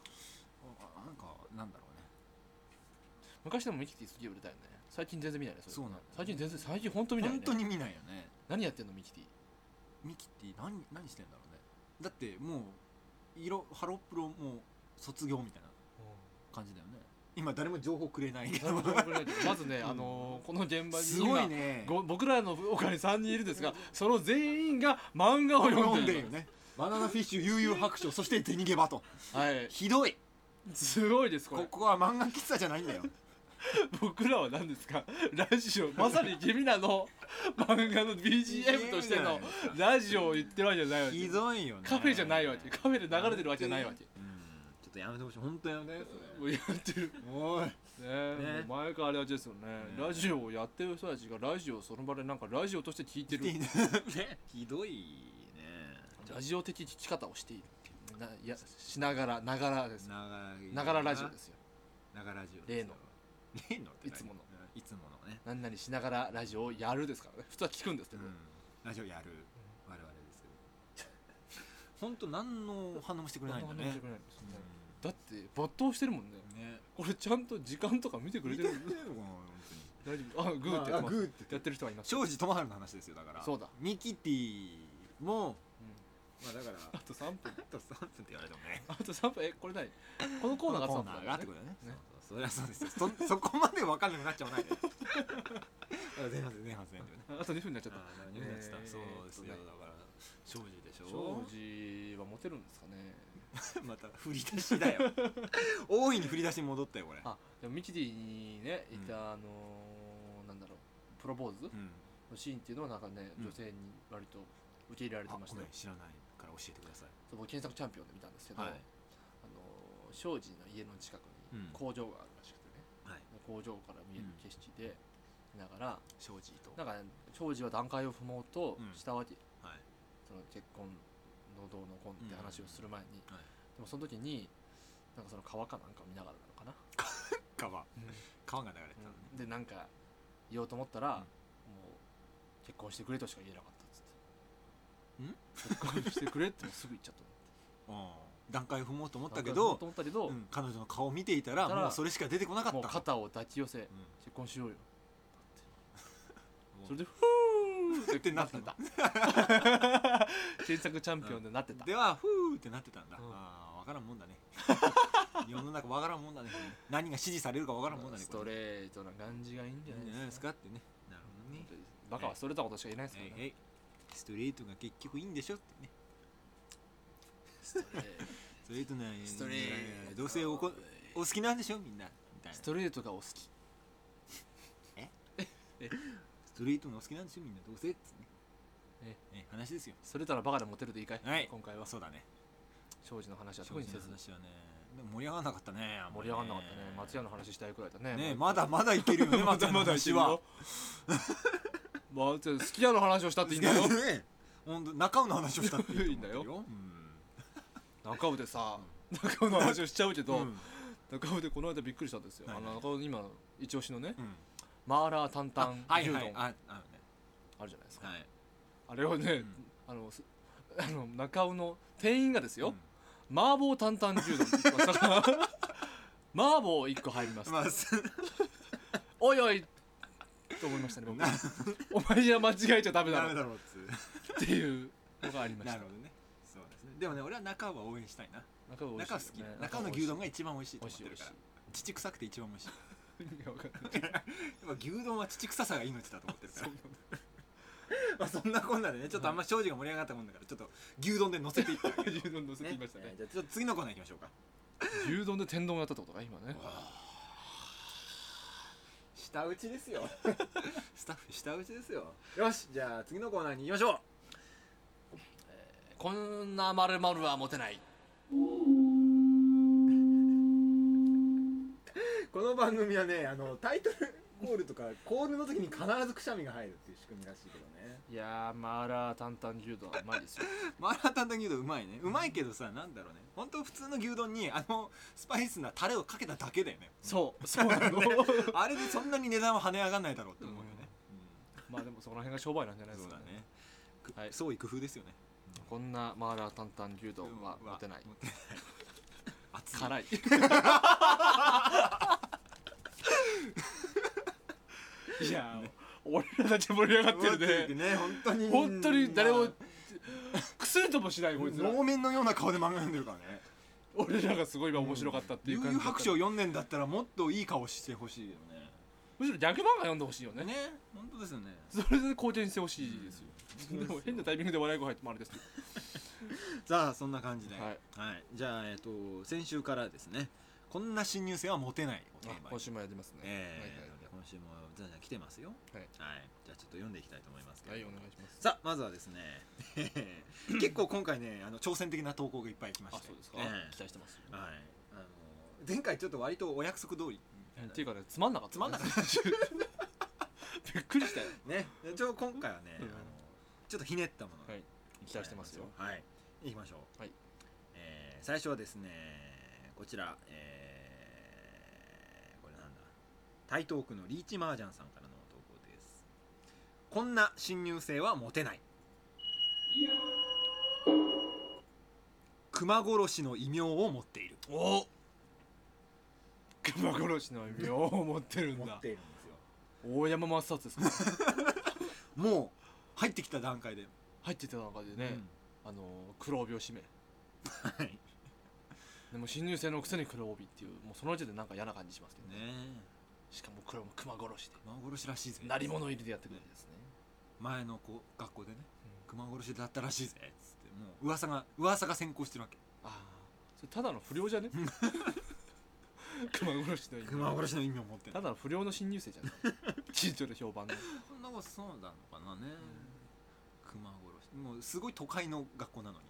Speaker 2: あなんかなんだろうね
Speaker 1: 昔でもミキティ好き売れたよね最近全然見ないねれ
Speaker 2: そうなの
Speaker 1: 最近全然最近本当見ないよ
Speaker 2: 本
Speaker 1: ね
Speaker 2: 当に見ないよね
Speaker 1: 何やってんのミキティ
Speaker 2: ミキティ何何してんだろうねだってもう色ハロプロもう卒業みたいな感じだよね今誰も情報く れないけ
Speaker 1: なる
Speaker 2: ど
Speaker 1: ほどわかりましたまずね、
Speaker 2: うん
Speaker 1: あのーこの現場に
Speaker 2: すごいね
Speaker 1: 今ご僕らの他に3人いるんですがその全員が漫画を読
Speaker 2: 読
Speaker 1: ん
Speaker 2: ん
Speaker 1: でる
Speaker 2: でるよねバナナフィッシュ悠々白書そして銭ゲ バと
Speaker 1: はい
Speaker 2: ひどい
Speaker 1: すごいですこれ
Speaker 2: ここは漫画喫茶じゃない んだよ
Speaker 1: 僕らは何ですかラジオまさに君らの漫画の BGM としてのラジオを言ってるわけじゃないわけ
Speaker 2: ひどいよね
Speaker 1: カフェじゃないわけカフェで流れてるわけじゃないわけ
Speaker 2: うんちょっとやめてほしい本当やめて
Speaker 1: もうやってる
Speaker 2: おい
Speaker 1: ねえ、
Speaker 2: ね
Speaker 1: もう前からあれはですよねラジオをやってる人たちがラジオをその場でなんかラジオとして聞いてる
Speaker 2: ね ひどいね
Speaker 1: ラジオ的聞き方をしているっていうないやしながらながらです
Speaker 2: ながら
Speaker 1: ながらラジオですよ
Speaker 2: ながらラジオ
Speaker 1: 例の
Speaker 2: 例のって何
Speaker 1: いつもの
Speaker 2: いつものね、
Speaker 1: 何々しながらラジオをやるですからね普通は聞くんですけど、
Speaker 2: ラジオやる我々ですけど本当何の反応もしてくれないんだね
Speaker 1: 何もしてくれないんですねだって没頭してるもんね
Speaker 2: うんね
Speaker 1: これちゃんと時間とか見てくれてる大丈夫あグーってやってます、
Speaker 2: グーって
Speaker 1: やってる人はいます、
Speaker 2: 庄司智春の話ですよだから
Speaker 1: そうだ
Speaker 2: ミキティも
Speaker 1: うん
Speaker 2: まあだから
Speaker 1: あと3分
Speaker 2: あと3分って言われてもね
Speaker 1: あと3分えこれ何このコーナーが
Speaker 2: コ
Speaker 1: 3
Speaker 2: ー
Speaker 1: 分
Speaker 2: ナ
Speaker 1: だ
Speaker 2: ー
Speaker 1: よね
Speaker 2: がってことだよね
Speaker 1: ね
Speaker 2: そうそうそりゃそうですよそそこまで分かんな くなっちゃわないであ前半戦前半戦でね
Speaker 1: あと2分になっちゃった
Speaker 2: あー何をやってた
Speaker 1: えー
Speaker 2: そうですよ
Speaker 1: え
Speaker 2: だ
Speaker 1: っとね
Speaker 2: から庄司でしょ
Speaker 1: 庄司はモテるんですかね
Speaker 2: また振り出しだ よ大いに振り出しに戻ったよこれ
Speaker 1: あでもミキティにねいた、
Speaker 2: う
Speaker 1: あのーなんだろうプロポーズ
Speaker 2: うん
Speaker 1: のシーンっていうのはなんかね、
Speaker 2: うん
Speaker 1: 女性に割と受け入れられて
Speaker 2: あ
Speaker 1: まし
Speaker 2: ご
Speaker 1: た
Speaker 2: め
Speaker 1: よ
Speaker 2: ん知らないから教えてください
Speaker 1: そう僕検索チャンピオンで見たんですけど、
Speaker 2: はい
Speaker 1: あのー庄司の家の近くに
Speaker 2: うん
Speaker 1: 工場があるらしくてね、
Speaker 2: はい
Speaker 1: 工場から見える景色で、見ながら
Speaker 2: 庄司と
Speaker 1: なんかね庄司は段階を踏もうと
Speaker 2: うん
Speaker 1: したわけ、
Speaker 2: はい
Speaker 1: その結婚のどうのこうのって話をする前に、
Speaker 2: うんはい
Speaker 1: でもその時になんかその川かなんかを見ながらなのかな、
Speaker 2: 川川が流れてたのね
Speaker 1: うんでなんか言おうと思ったら、
Speaker 2: うん
Speaker 1: もう結婚してくれとしか言えなかったっつ
Speaker 2: ん
Speaker 1: って結婚してくれってもうすぐ言っちゃった
Speaker 2: うん段階を踏もうと思ったけ
Speaker 1: なん
Speaker 2: ど
Speaker 1: かと思ったけど、
Speaker 2: うん彼女の顔を見ていたら
Speaker 1: たら
Speaker 2: もうそれしか出てこなかった
Speaker 1: もう肩を抱き寄せ、
Speaker 2: うん
Speaker 1: 結婚しようよ
Speaker 2: もう
Speaker 1: それでフー
Speaker 2: ってなってた
Speaker 1: 検索チャンピオンでなってた、
Speaker 2: ではふーってなってたんだ
Speaker 1: うん
Speaker 2: ああ分からんもんだね 世の中分からんもんだね何が支持されるか分からんもんだね
Speaker 1: スト
Speaker 2: これ
Speaker 1: レートな感じがいいんじ
Speaker 2: い
Speaker 1: ゃ
Speaker 2: いんじゃ
Speaker 1: な
Speaker 2: ない
Speaker 1: い
Speaker 2: で
Speaker 1: ですす
Speaker 2: か
Speaker 1: か
Speaker 2: ってねなるほどね
Speaker 1: バカはストレートなことしか言えないですから
Speaker 2: え
Speaker 1: ね、
Speaker 2: いえいストレートが結局いいんでしょってね
Speaker 1: ストレート
Speaker 2: ストレートなんや
Speaker 1: ストレート
Speaker 2: どうせおこお好きなんでしょみんなみたいな
Speaker 1: ス
Speaker 2: ス
Speaker 1: トレートがお好き
Speaker 2: トレートがお好きなんでしょみんなどうせっつってねえ話ですよ
Speaker 1: それたらバカでモテるでいいかい、
Speaker 2: はい
Speaker 1: 今回は
Speaker 2: そうだね
Speaker 1: 庄司の話は
Speaker 2: 正直
Speaker 1: 特
Speaker 2: な
Speaker 1: にせず
Speaker 2: 話はねでも盛り上がらなかったねあんま
Speaker 1: 盛
Speaker 2: り
Speaker 1: り上がんなかったね松屋の話したいくらいだね
Speaker 2: ねまだまだいけるよね
Speaker 1: ま
Speaker 2: 松
Speaker 1: だ
Speaker 2: 屋の
Speaker 1: まだ
Speaker 2: 話
Speaker 1: 一は
Speaker 2: は
Speaker 1: まあ、好きなの話をしたっていいんだよ
Speaker 2: ね本当中尾の話をしたっていいと思ってる
Speaker 1: いいんだ
Speaker 2: よ
Speaker 1: 中尾でさ、中尾の話をしちゃうけど、
Speaker 2: うんうん
Speaker 1: 中尾でこの間びっくりしたんですよ、
Speaker 2: はい
Speaker 1: あの中尾の今の一押しのね、
Speaker 2: うん
Speaker 1: マーラー担々
Speaker 2: あはい
Speaker 1: 牛丼
Speaker 2: はいああのね
Speaker 1: あるじゃないですか、
Speaker 2: はい
Speaker 1: あれをね、
Speaker 2: ん
Speaker 1: あのす あの中尾の店員がですよ、
Speaker 2: うん
Speaker 1: 麻婆担々牛丼って言ってましたから 麻婆1個入ります、
Speaker 2: まあす
Speaker 1: おいおいと思いましたね 僕お前には間違えちゃダメだ
Speaker 2: ダメ
Speaker 1: ろ
Speaker 2: だろうっつう
Speaker 1: っていうのがありまし
Speaker 2: な
Speaker 1: た
Speaker 2: るほどねそうですねでもね俺は中尾は応援したいな
Speaker 1: 中尾美味しい
Speaker 2: 中尾
Speaker 1: よ
Speaker 2: 好き
Speaker 1: ね
Speaker 2: 中尾の牛丼が一番美味しいと
Speaker 1: 美
Speaker 2: 思
Speaker 1: 味
Speaker 2: っ
Speaker 1: してい美味し
Speaker 2: るか
Speaker 1: い
Speaker 2: ら乳臭くて一番美味しい
Speaker 1: 美味しい意味が分かんない
Speaker 2: やっぱ牛丼は乳臭さが命だと思ってるからまあそんなこんなでねちょっとあんま正直が盛り上がったもんだからちょっと牛丼で乗せていったわけで
Speaker 1: 牛丼乗せてきましたね
Speaker 2: えーじゃあちょっと次のコーナー行きましょうか
Speaker 1: 牛丼で天丼をやったってことか今ね
Speaker 2: 下打ちですよ スタッフ下打ちですよよしじゃあ次のコーナーに行きましょ
Speaker 1: こんなまるまるは持てないう
Speaker 2: この番組はねあのタイトルコールとかコールの時に必ずくしゃみが入るっていう仕組みらしいけどね
Speaker 1: いやーマーラー担々牛丼はうまいです よ
Speaker 2: マーラー担々牛丼うまいねうまいけどさなんだろうね本当普通の牛丼にあのスパイスなタレをかけただけだよね
Speaker 1: そうそうなの
Speaker 2: あれでそんなに値段は跳ね上がんないだろうって思うよね、
Speaker 1: まあでもそこら辺が商売なんじゃないですかね
Speaker 2: く
Speaker 1: はい
Speaker 2: 創意工夫ですよね
Speaker 1: こんなマーラー担々牛丼は持てない
Speaker 2: 持てない 熱い
Speaker 1: 辛い いやー俺らたち盛り上がって る
Speaker 2: 持っ
Speaker 1: で、
Speaker 2: てるね本当に
Speaker 1: 本当に誰も
Speaker 2: ま
Speaker 1: 薬ともしないこいつら
Speaker 2: あ能面のような顔で漫画読んでるからね
Speaker 1: 俺らがすごい今面白かったっていう
Speaker 2: 悠
Speaker 1: 感
Speaker 2: 々
Speaker 1: じだっ
Speaker 2: 白
Speaker 1: た
Speaker 2: 書を読んでんだったらもっといい顔してほしいよ
Speaker 1: むしろ逆漫画読んでほしいよ
Speaker 2: ね
Speaker 1: ね
Speaker 2: ね本当ですよね
Speaker 1: それで貢献してほしいですよ、
Speaker 2: うん
Speaker 1: でも変なタイミングで笑い声入ってもあれですけど
Speaker 2: さあそんな感じでは
Speaker 1: はいい、
Speaker 2: じゃあえっと先週からですねこんな新入生はモテないをテーマに
Speaker 1: あ今週もやってますね、
Speaker 2: え
Speaker 1: はい
Speaker 2: え今週もじゃんじゃん来てますよ
Speaker 1: はい
Speaker 2: じゃあちょっと読んでいきたいと思いますけ
Speaker 1: は
Speaker 2: れ
Speaker 1: い、はい
Speaker 2: ど
Speaker 1: お
Speaker 2: も
Speaker 1: 願いします
Speaker 2: さあまずはですね 結構今回ねあの挑戦的な投稿がいっぱい来ました
Speaker 1: あそうですか、期待してます
Speaker 2: はい、あの前回ちょっと割とお約束通り
Speaker 1: うんっていうかねつまんなかった
Speaker 2: つまんなかった
Speaker 1: びっくりしたよ
Speaker 2: ねちょ今回はね、
Speaker 1: うん
Speaker 2: あのちょっとひねったものを
Speaker 1: はい
Speaker 2: いき
Speaker 1: 期
Speaker 2: たい
Speaker 1: 待してますよ
Speaker 2: はいいきましょう、
Speaker 1: はい
Speaker 2: えー最初はですねこちら、えーこれなんだ台東区のリーチマージャンさんからの投稿ですこんな新入生はモテない熊殺しの異名を持っている
Speaker 1: お熊殺しの異名を持ってるん
Speaker 2: 持
Speaker 1: だ
Speaker 2: っているんですよ
Speaker 1: 大山抹殺です か
Speaker 2: もう入ってきた段階で、
Speaker 1: 入ってた中でね、あの黒帯を締め
Speaker 2: うんはい
Speaker 1: でも新入生のくせに黒帯っていうもうその時点でなんか嫌な感じしますけどね
Speaker 2: ね
Speaker 1: しかも黒も熊殺し
Speaker 2: 熊殺しらしいぜ
Speaker 1: で鳴り物入りでやってくるんですね、
Speaker 2: 前の子学校でね
Speaker 1: うん
Speaker 2: 熊殺しだったらしいぜっつってもう噂が噂が先行してるわけ
Speaker 1: ああそれただの不良じゃ ね熊殺しの意味
Speaker 2: 熊殺しの意味を持って
Speaker 1: ただの不良の新入生じゃない近所で評判の
Speaker 2: そんなことそうなのかなね熊殺しもうすごい都会の学校なのに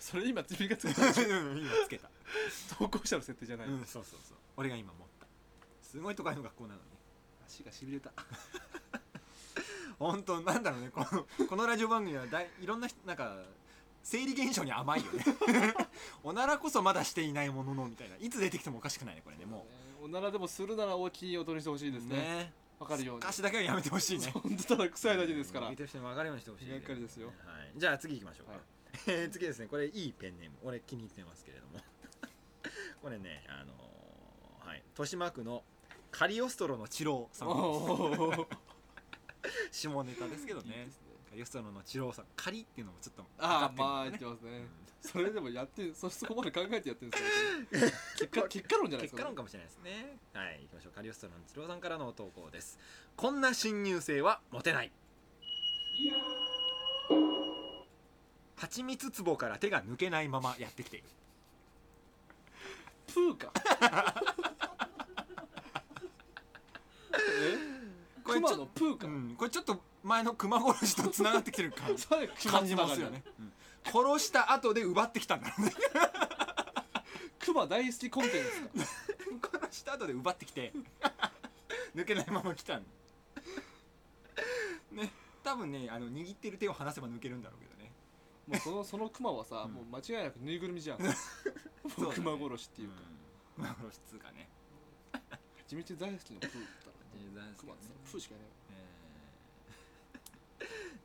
Speaker 1: それ今自分が作った
Speaker 2: 今つけた、
Speaker 1: 投稿者の設定じゃない、
Speaker 2: うんそうそうそう俺が今持ったすごい都会の学校なのに
Speaker 1: 足がしびれた
Speaker 2: 本当なんだろうねこのこのラジオ番組はだいいろんな人なんか生理現象に甘いよね おならこそまだしていないもののみたいないつ出てきてもおかしくないねこれねも
Speaker 1: おならでもするなら大きい音にしてほしいうですね
Speaker 2: ね
Speaker 1: わかるように
Speaker 2: 歌詞だけはやめてほ しいね
Speaker 1: ほんとただ臭いだけですから
Speaker 2: 見てる人に分かるようにしてほしいけどね
Speaker 1: がっかりですよ
Speaker 2: はい、じゃあ次行きましょうか、
Speaker 1: はい
Speaker 2: えー 次ですねこれいいペンネーム俺気に入ってますけれども これねあのーはい豊島区のカリオストロの治郎さん
Speaker 1: お ー
Speaker 2: 下ネタですけど
Speaker 1: いい
Speaker 2: ね
Speaker 1: ですね
Speaker 2: カリオストロの治郎さんカリっていうのもちょっと
Speaker 1: ああ
Speaker 2: る
Speaker 1: まあ
Speaker 2: ん
Speaker 1: 言
Speaker 2: だ
Speaker 1: って
Speaker 2: ね
Speaker 1: ますね
Speaker 2: うん
Speaker 1: それでもやってそ そこまで考えてやってるんですけど結果結果論じゃないです
Speaker 2: 結果
Speaker 1: か、
Speaker 2: 論かもしれないですねはい行きましょうカリオストロの治郎さんからの投稿ですこんな新入生はモテない蜂蜜壺から手が抜けないままやってきている
Speaker 1: プーか え
Speaker 2: これちょ
Speaker 1: 熊のプーか、
Speaker 2: うん、これちょっと前の熊殺しとつながってきてる感じ
Speaker 1: そういう
Speaker 2: 感じますよね、うん殺した後で奪ってきたんだろうね
Speaker 1: 熊大好きコンテンツか
Speaker 2: 殺した後で奪ってきて抜けないまま来たんね多分ねあの握ってる手を離せば抜けるんだろうけどね
Speaker 1: もうそのその熊はさ、
Speaker 2: うん
Speaker 1: もう間違いなくぬいぐるみじゃ ん
Speaker 2: そうだね
Speaker 1: 熊殺しっていうか、
Speaker 2: うん熊殺しっつうかね、
Speaker 1: 地道大好きのプーだったら、
Speaker 2: えー大好き
Speaker 1: 熊
Speaker 2: だ
Speaker 1: っ
Speaker 2: ね
Speaker 1: つったらプーしかいない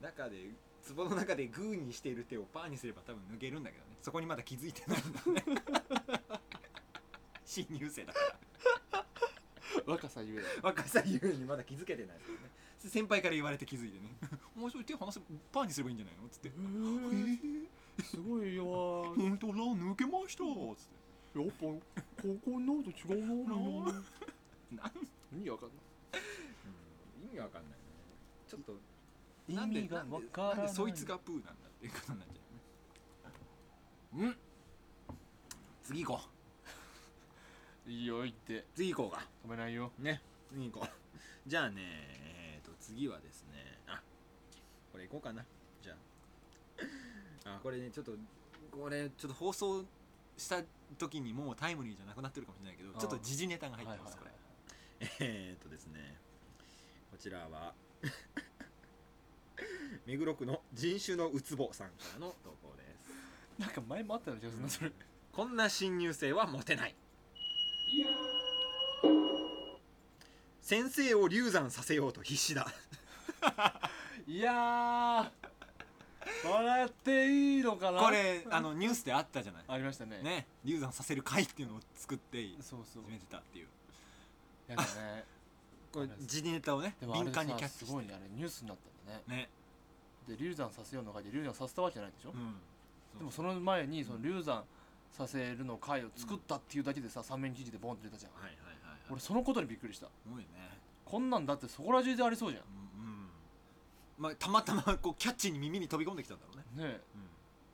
Speaker 2: えー中で壺の中でグーにしている手をパーにすれば多分抜けるんだけどねそこにまだ気づいてないん だね新入生だから
Speaker 1: 若さゆえだ
Speaker 2: 若さゆえにまだ気づけてないんだよね先輩から言われて気づいてね「お前それ手離せパーにすればいいんじゃないの?」っつって「えー、
Speaker 1: すごいよ
Speaker 2: 本当だ抜けました」っつって
Speaker 1: やっぱ高校になると違うな
Speaker 2: なん
Speaker 1: 意味わかんない
Speaker 2: 意味わかんないねちょっと
Speaker 1: 意
Speaker 2: なんで
Speaker 1: 味が
Speaker 2: なんで
Speaker 1: わからない
Speaker 2: んでそいつがプーなんだっていうことになっちゃうよねうん次行こう
Speaker 1: いいよ言って
Speaker 2: 次行こうか
Speaker 1: 止めないよ
Speaker 2: ね次行こうじゃあねえー、と次はですねあこれ行こうかなじゃ ああこれねちょっとこれちょっと放送した時にもうタイムリーじゃなくなってるかもしれないけど
Speaker 1: あー
Speaker 2: ちょっと時事ネタが入ってます、
Speaker 1: はいはいはい
Speaker 2: これえー、とですねこちらは 目黒区の人種のうつぼさんからの投稿です
Speaker 1: なんか前もあったような気がするなそれ
Speaker 2: こんな新入生はモテない先生を流産させようと必死だ
Speaker 1: いやー笑っていいのかな
Speaker 2: これあのニュースであったじゃな
Speaker 1: ありましたね
Speaker 2: いね流産させる会っていうのを作って始
Speaker 1: そうそう
Speaker 2: めてたっていう
Speaker 1: やだ ね
Speaker 2: これ
Speaker 1: あれです
Speaker 2: 時事ネタをね
Speaker 1: でもあ
Speaker 2: 敏
Speaker 1: れさ
Speaker 2: 感にキャッチ
Speaker 1: す
Speaker 2: し
Speaker 1: ごい
Speaker 2: て
Speaker 1: ねあれニュースになったんだね
Speaker 2: ね
Speaker 1: で流産させようの会で流産させたわけじゃないでしょ、
Speaker 2: うん
Speaker 1: でもその前にその流産させるの会を作ったっていうだけでさ三面記事でボンって出たじゃん、
Speaker 2: はいはいはいはい
Speaker 1: 俺そのことにびっくりした
Speaker 2: すごいね
Speaker 1: こんなんだってそこら中でありそうじゃ
Speaker 2: うんうんまあたまたまこうキャッチに耳に飛び込んできたんだろうね
Speaker 1: んねえ
Speaker 2: うん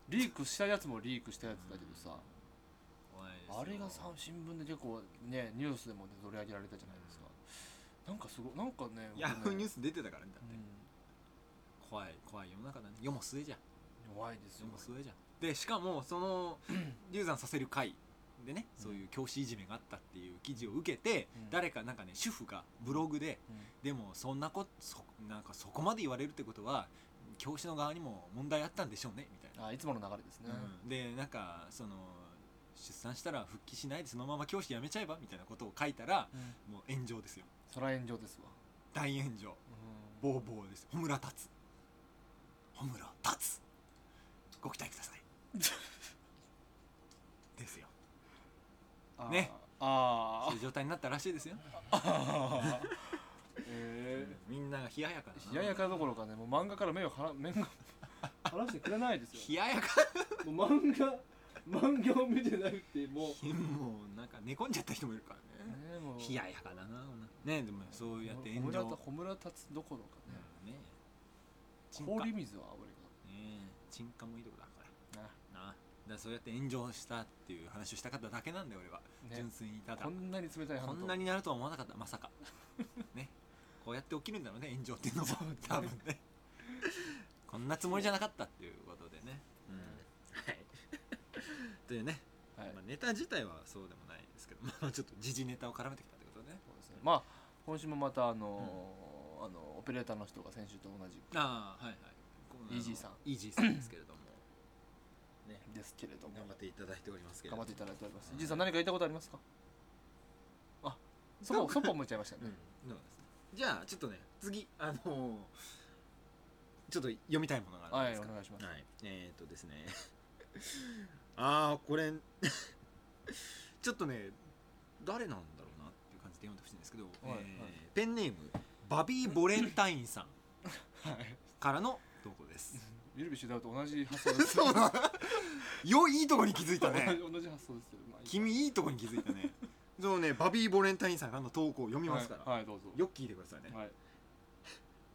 Speaker 1: リークしたやつもリークしたやつだけどさ、
Speaker 2: 怖いですよ
Speaker 1: あれがさ新聞で結構ねニュースでもね取り上げられたじゃないですか、なんかすごいなんかね
Speaker 2: ヤフーニュー
Speaker 1: ス、
Speaker 2: ス出てたからねだっ
Speaker 1: う
Speaker 2: て
Speaker 1: ん
Speaker 2: 怖い怖い世の中だね世も末じゃん
Speaker 1: 弱いです
Speaker 2: で
Speaker 1: よ
Speaker 2: もそれじゃんでしかもその流産させる会でねそういう教師いじめがあったっていう記事を受けて、
Speaker 1: うん
Speaker 2: 誰かなんかね主婦がブログででもそんなこそなんかそこまで言われるってことは教師の側にも問題あったんでしょうねみたい
Speaker 1: うんあいつもの流れですね
Speaker 2: な、、うんでなんかその出産したら復帰しないでそのまま教師辞めちゃえばみたいなことを書いたら
Speaker 1: うん
Speaker 2: もう炎上ですよ
Speaker 1: そら炎上ですわ、
Speaker 2: 大炎上ボーボーです穂村達穂村達ご期待くださ いですよ
Speaker 1: あー
Speaker 2: ね
Speaker 1: あ
Speaker 2: そういう状態になったらしいですよ、
Speaker 1: あええ
Speaker 2: みんなが冷ややかな
Speaker 1: 冷ややかどころかねもう漫画から目をはら目が 離してくれないです
Speaker 2: 冷ややか
Speaker 1: よもう漫画漫画を見てなくてもう
Speaker 2: もうなんか寝込んじゃった人もいるからね
Speaker 1: ねもう
Speaker 2: 冷ややかだなねでもそうやって
Speaker 1: ほ
Speaker 2: 炎
Speaker 1: むら
Speaker 2: 上
Speaker 1: たほむらたつどころかね、
Speaker 2: うんね沈下
Speaker 1: 氷
Speaker 2: ね
Speaker 1: 水は俺
Speaker 2: 沈下もいいとこだか
Speaker 1: がな
Speaker 2: らなだからそうやって炎上したっていう話をしたかっただけなんだよ俺は、純
Speaker 1: ね
Speaker 2: 粋にただ
Speaker 1: こんなに冷たい
Speaker 2: こ
Speaker 1: 反
Speaker 2: ん
Speaker 1: 応
Speaker 2: なになるとは思わなかったま さかねこうやって起きるんだろうね炎上っていうのも多分ねこんなつもりじゃなかったっていうことでね、うんはいというね、
Speaker 1: はい
Speaker 2: まあ、ネタ自体はそうでもないですけど、まあ、ちょっと時事ネタを絡めてきたってことね
Speaker 1: そうですねまあ今週もまたあのーあのオペレーターの人が先週と同じ
Speaker 2: ああはいはいこうあの
Speaker 1: イージーさん
Speaker 2: イージーさんですけれ どもね
Speaker 1: ですけれども
Speaker 2: 頑張っていただいておりますけれど
Speaker 1: 頑張
Speaker 2: も
Speaker 1: っていただいております
Speaker 2: うん
Speaker 1: じいさん何か言ったことありますかあそこそこ向いちゃいましたね、
Speaker 2: うん、そうですねじゃあちょっとね次あのーちょっと読みたいものがあるんです
Speaker 1: はいお願いします
Speaker 2: はい、えー、っとですね ああこれ ちょっとね誰なんだろうなっていう感じで読んでほしいんですけど、
Speaker 1: いはい
Speaker 2: えーペンネームバビー・ボレンタイン さんからの投稿です
Speaker 1: ゆるびしゅだと同じ発想です
Speaker 2: うだよいいとこに気づいたね
Speaker 1: 同じ同じ発想ですけど、まあいいか
Speaker 2: 君いいとこに気づいたねそのねバビー・ボレンタインさんからの投稿を読みますから、
Speaker 1: はい、はいどうぞ
Speaker 2: よく聞いてくださいね、
Speaker 1: はい、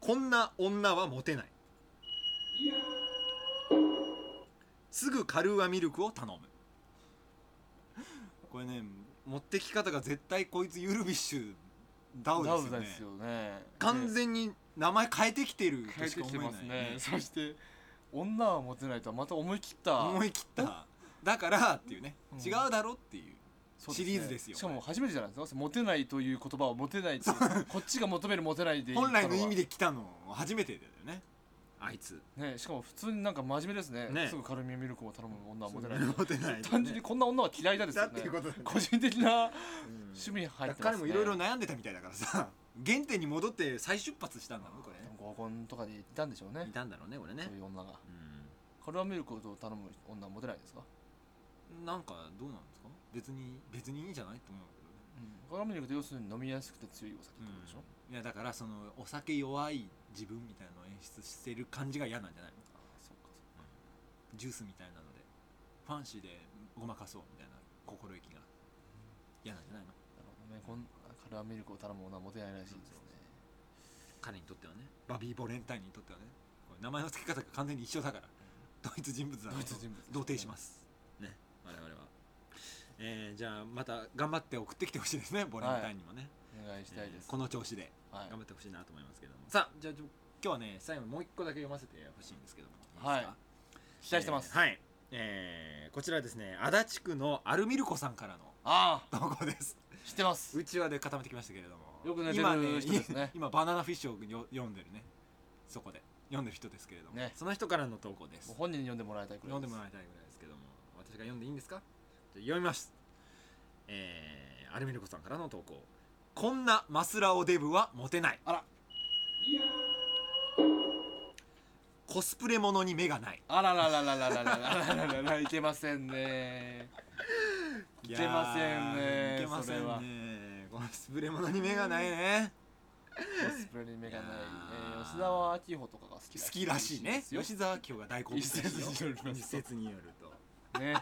Speaker 2: こんな女はモテないすぐカルーアミルクを頼むこれね持ってき方が絶対こいつユルビッシュダウ
Speaker 1: ダ
Speaker 2: です
Speaker 1: ウ
Speaker 2: よ
Speaker 1: ダ
Speaker 2: ね
Speaker 1: ですよね
Speaker 2: 完全に名前変えてきてる
Speaker 1: 変
Speaker 2: と
Speaker 1: え
Speaker 2: してか
Speaker 1: き
Speaker 2: 思
Speaker 1: て
Speaker 2: えない
Speaker 1: ますね そして女はモテないとはまた思い切った
Speaker 2: 思い切っただからっていうね、
Speaker 1: うん
Speaker 2: 違うだろっていう
Speaker 1: そう
Speaker 2: シリーズですよ
Speaker 1: しかも初めてじゃないですかモテないという言葉をモテないっていうこっちが求めるモテないで言った
Speaker 2: 本
Speaker 1: は
Speaker 2: 来の意味で来たの初めてだよねあいつ
Speaker 1: ねしかも普通になんか真面目ですね
Speaker 2: ね
Speaker 1: すぐカルミミルクを頼む女はモテない
Speaker 2: モテない
Speaker 1: 単純にこんな女は嫌いだです
Speaker 2: だ
Speaker 1: よ
Speaker 2: って
Speaker 1: ね
Speaker 2: いうことだね
Speaker 1: 個人的な
Speaker 2: うん
Speaker 1: 趣味入ってますね
Speaker 2: 彼もいろいろ悩んでたみたいだからさ原点に戻って再出発したんだろうこれ
Speaker 1: でも合コンとかでいたんでしょうね
Speaker 2: いたんだろうね俺ね
Speaker 1: そういう女が
Speaker 2: う
Speaker 1: カルアミルクを頼む女はモテないですか、
Speaker 2: んなんかどうなんですか別に別にいいんじゃないと思うけどね
Speaker 1: うん、カルアミルクって要するに飲みやすくて強いお酒ってことでしょ、
Speaker 2: いやだからそのお酒弱い自分みたいなのを演出してる感じが嫌なんじゃないの
Speaker 1: ああそうかそう
Speaker 2: ジュースみたいなのでファンシーでごまかそうみたいな心意気が嫌なんじゃないの
Speaker 1: かなるほどねこんカルアミルクを頼む女はモテないらしいですね
Speaker 2: 彼にとってはねバビー・ボレンタインにとってはねこれ名前の付け方が完全に一緒だから同一人物だ
Speaker 1: ドイツ人物
Speaker 2: 同定しますすね我々はえー、じゃあまた頑張って送ってきてほしいですねボレンタインにもね、
Speaker 1: お願いしたいです、
Speaker 2: えーこの調子で
Speaker 1: はい
Speaker 2: 頑張ってほしいなと思いますけども、さあじゃあちょ今日はね最後にもう一個だけ読ませてほしいんですけども
Speaker 1: はい
Speaker 2: ですか
Speaker 1: 期待してます、
Speaker 2: えーはいえーこちらですね足立区のアルミルコさんからの
Speaker 1: あ
Speaker 2: 投稿です
Speaker 1: あ知ってます
Speaker 2: うちわで固めてきましたけれども
Speaker 1: よく寝てる
Speaker 2: 今ね
Speaker 1: 人ですね
Speaker 2: 今バナナフィッシュをよ読んでるねそこで読んでる人ですけれども、
Speaker 1: ね
Speaker 2: その人からの投稿です
Speaker 1: もう本人に読んでもらいたいくら
Speaker 2: 読
Speaker 1: い
Speaker 2: ん
Speaker 1: で
Speaker 2: ですもらいたいぐらいですけども私が読んでいいんですかじゃあ読みますえー、アルミルコさんからの投稿こんなマスラオデブはモテない
Speaker 1: あら
Speaker 2: コスプレものに目がない
Speaker 1: あららららららららららららいけませんねいけませんね
Speaker 2: いけません
Speaker 1: それは
Speaker 2: ねコスプレものに目がないね
Speaker 1: コスプレに目がない
Speaker 2: いやー
Speaker 1: えー吉沢明穂とかが好き
Speaker 2: 好きらしいね
Speaker 1: ですよ
Speaker 2: 吉沢清が大好物
Speaker 1: 一説によります
Speaker 2: 一説によると
Speaker 1: ね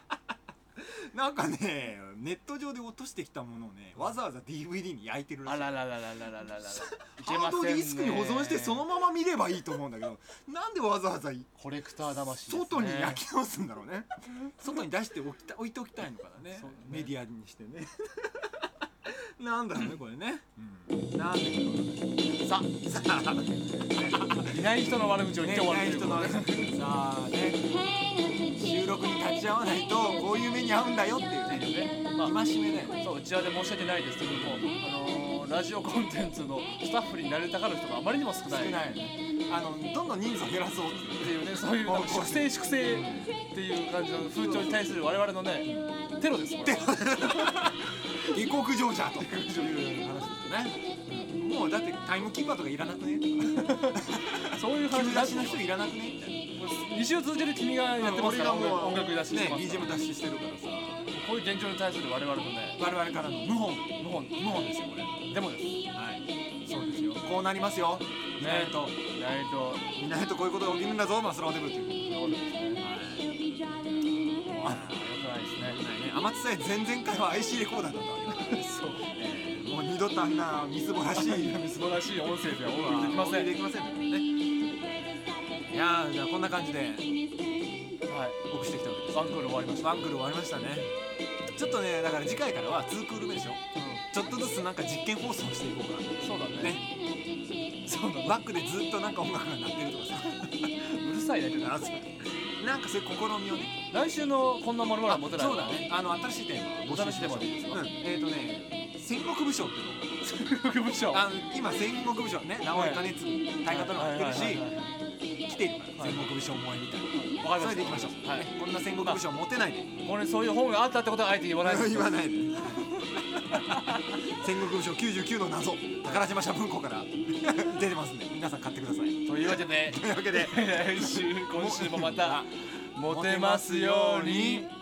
Speaker 2: なんかねネット上で落としてきたものをねわざわざ DVD に焼いてるらし
Speaker 1: あ
Speaker 2: い
Speaker 1: らららららららららいけ
Speaker 2: ハ
Speaker 1: ま
Speaker 2: ード
Speaker 1: せん
Speaker 2: ディ
Speaker 1: ね
Speaker 2: スクに保存してそのまま見ればいいと思うんだけどなんでわざわざ
Speaker 1: コレクター魂ですね
Speaker 2: 外に焼き直すんだろうね 外に出しておきた置いておきたいのかなね
Speaker 1: そうね
Speaker 2: メディアにしてねなんだろうねこれね、うん、なんで
Speaker 1: さ
Speaker 2: さあ
Speaker 1: いない人の悪口を言って終わる
Speaker 2: ねいない人のあれさあね収録に立ち会わないとこういう目に遭うんだよっていうね
Speaker 1: ねまあ
Speaker 2: 戒めだよね
Speaker 1: そううちわで申し訳ないですけども、あのーラジオコンテンツのスタッフになれたがる人があまりにも少
Speaker 2: 少
Speaker 1: ない
Speaker 2: ないあのどんどん人数を減らそうっていう
Speaker 1: っていうねそういうなんか粛清粛清っていう感じの風潮に対する我々のねテロですこれは
Speaker 2: 下克上じゃという話ですよねもうだってタイムキーパーとかいらなくねとか
Speaker 1: そういう話
Speaker 2: 急
Speaker 1: になっ
Speaker 2: 出しての人いらなくねみたい
Speaker 1: 2週続ける君がやって
Speaker 2: な
Speaker 1: ます
Speaker 2: 俺
Speaker 1: から
Speaker 2: が
Speaker 1: 音
Speaker 2: も
Speaker 1: 楽
Speaker 2: う
Speaker 1: 音楽出しして
Speaker 2: ね
Speaker 1: ますから
Speaker 2: BGM 出ししてるからさ
Speaker 1: こういう現状に対する我々のね
Speaker 2: 我々からの無本
Speaker 1: 無本
Speaker 2: 無本ですよこれは
Speaker 1: でもです意
Speaker 2: いそうですよこうなりますよいないと
Speaker 1: 外と
Speaker 2: いないとこういうことが起きるんだぞマスラオデブっていう
Speaker 1: そうですねあー良くないですね
Speaker 2: あないね天津さえ前々回は IC レコーダーだったわけだから
Speaker 1: そう
Speaker 2: えーもう二度とあんなみすぼらしい
Speaker 1: 素晴らしい音声ではお送りできま
Speaker 2: お送
Speaker 1: せ
Speaker 2: り
Speaker 1: ん
Speaker 2: できませんねいやーじゃあこんな感じで
Speaker 1: はい
Speaker 2: 僕してきたわけです
Speaker 1: ワンクール終わりました
Speaker 2: ワンクール終わりましたねちょっとねだから次回からは2クール目でしょちょっとずつなんか実験放送していこうか
Speaker 1: そうだ
Speaker 2: な
Speaker 1: ね
Speaker 2: ね
Speaker 1: そうだ
Speaker 2: バックでずっとなんか音楽が鳴ってるとかさ
Speaker 1: うるさいだけど
Speaker 2: なんかそういう試みをね
Speaker 1: 来週のこんなものは持てない
Speaker 2: そうだねあの新しいテーマ
Speaker 1: お試しテーマでいいですか
Speaker 2: うんえっ、とね戦国武将っていう の
Speaker 1: 副部長
Speaker 2: あの今戦国武将ね直江兼次大河ドラマやってるし、
Speaker 1: はいはいはいはい
Speaker 2: 来てるから戦国武将萌えみたいな、
Speaker 1: わかりました
Speaker 2: それでいきましょう、
Speaker 1: はい
Speaker 2: ねこんな戦国武将持てないで、
Speaker 1: これそういう本があったってことはあえて言わない です
Speaker 2: 言 わないで戦国武将99の謎宝島社文庫から 出てますんで皆さん買ってくださいとい
Speaker 1: というわけ で
Speaker 2: うわけで
Speaker 1: 来週今週もまたモテますように。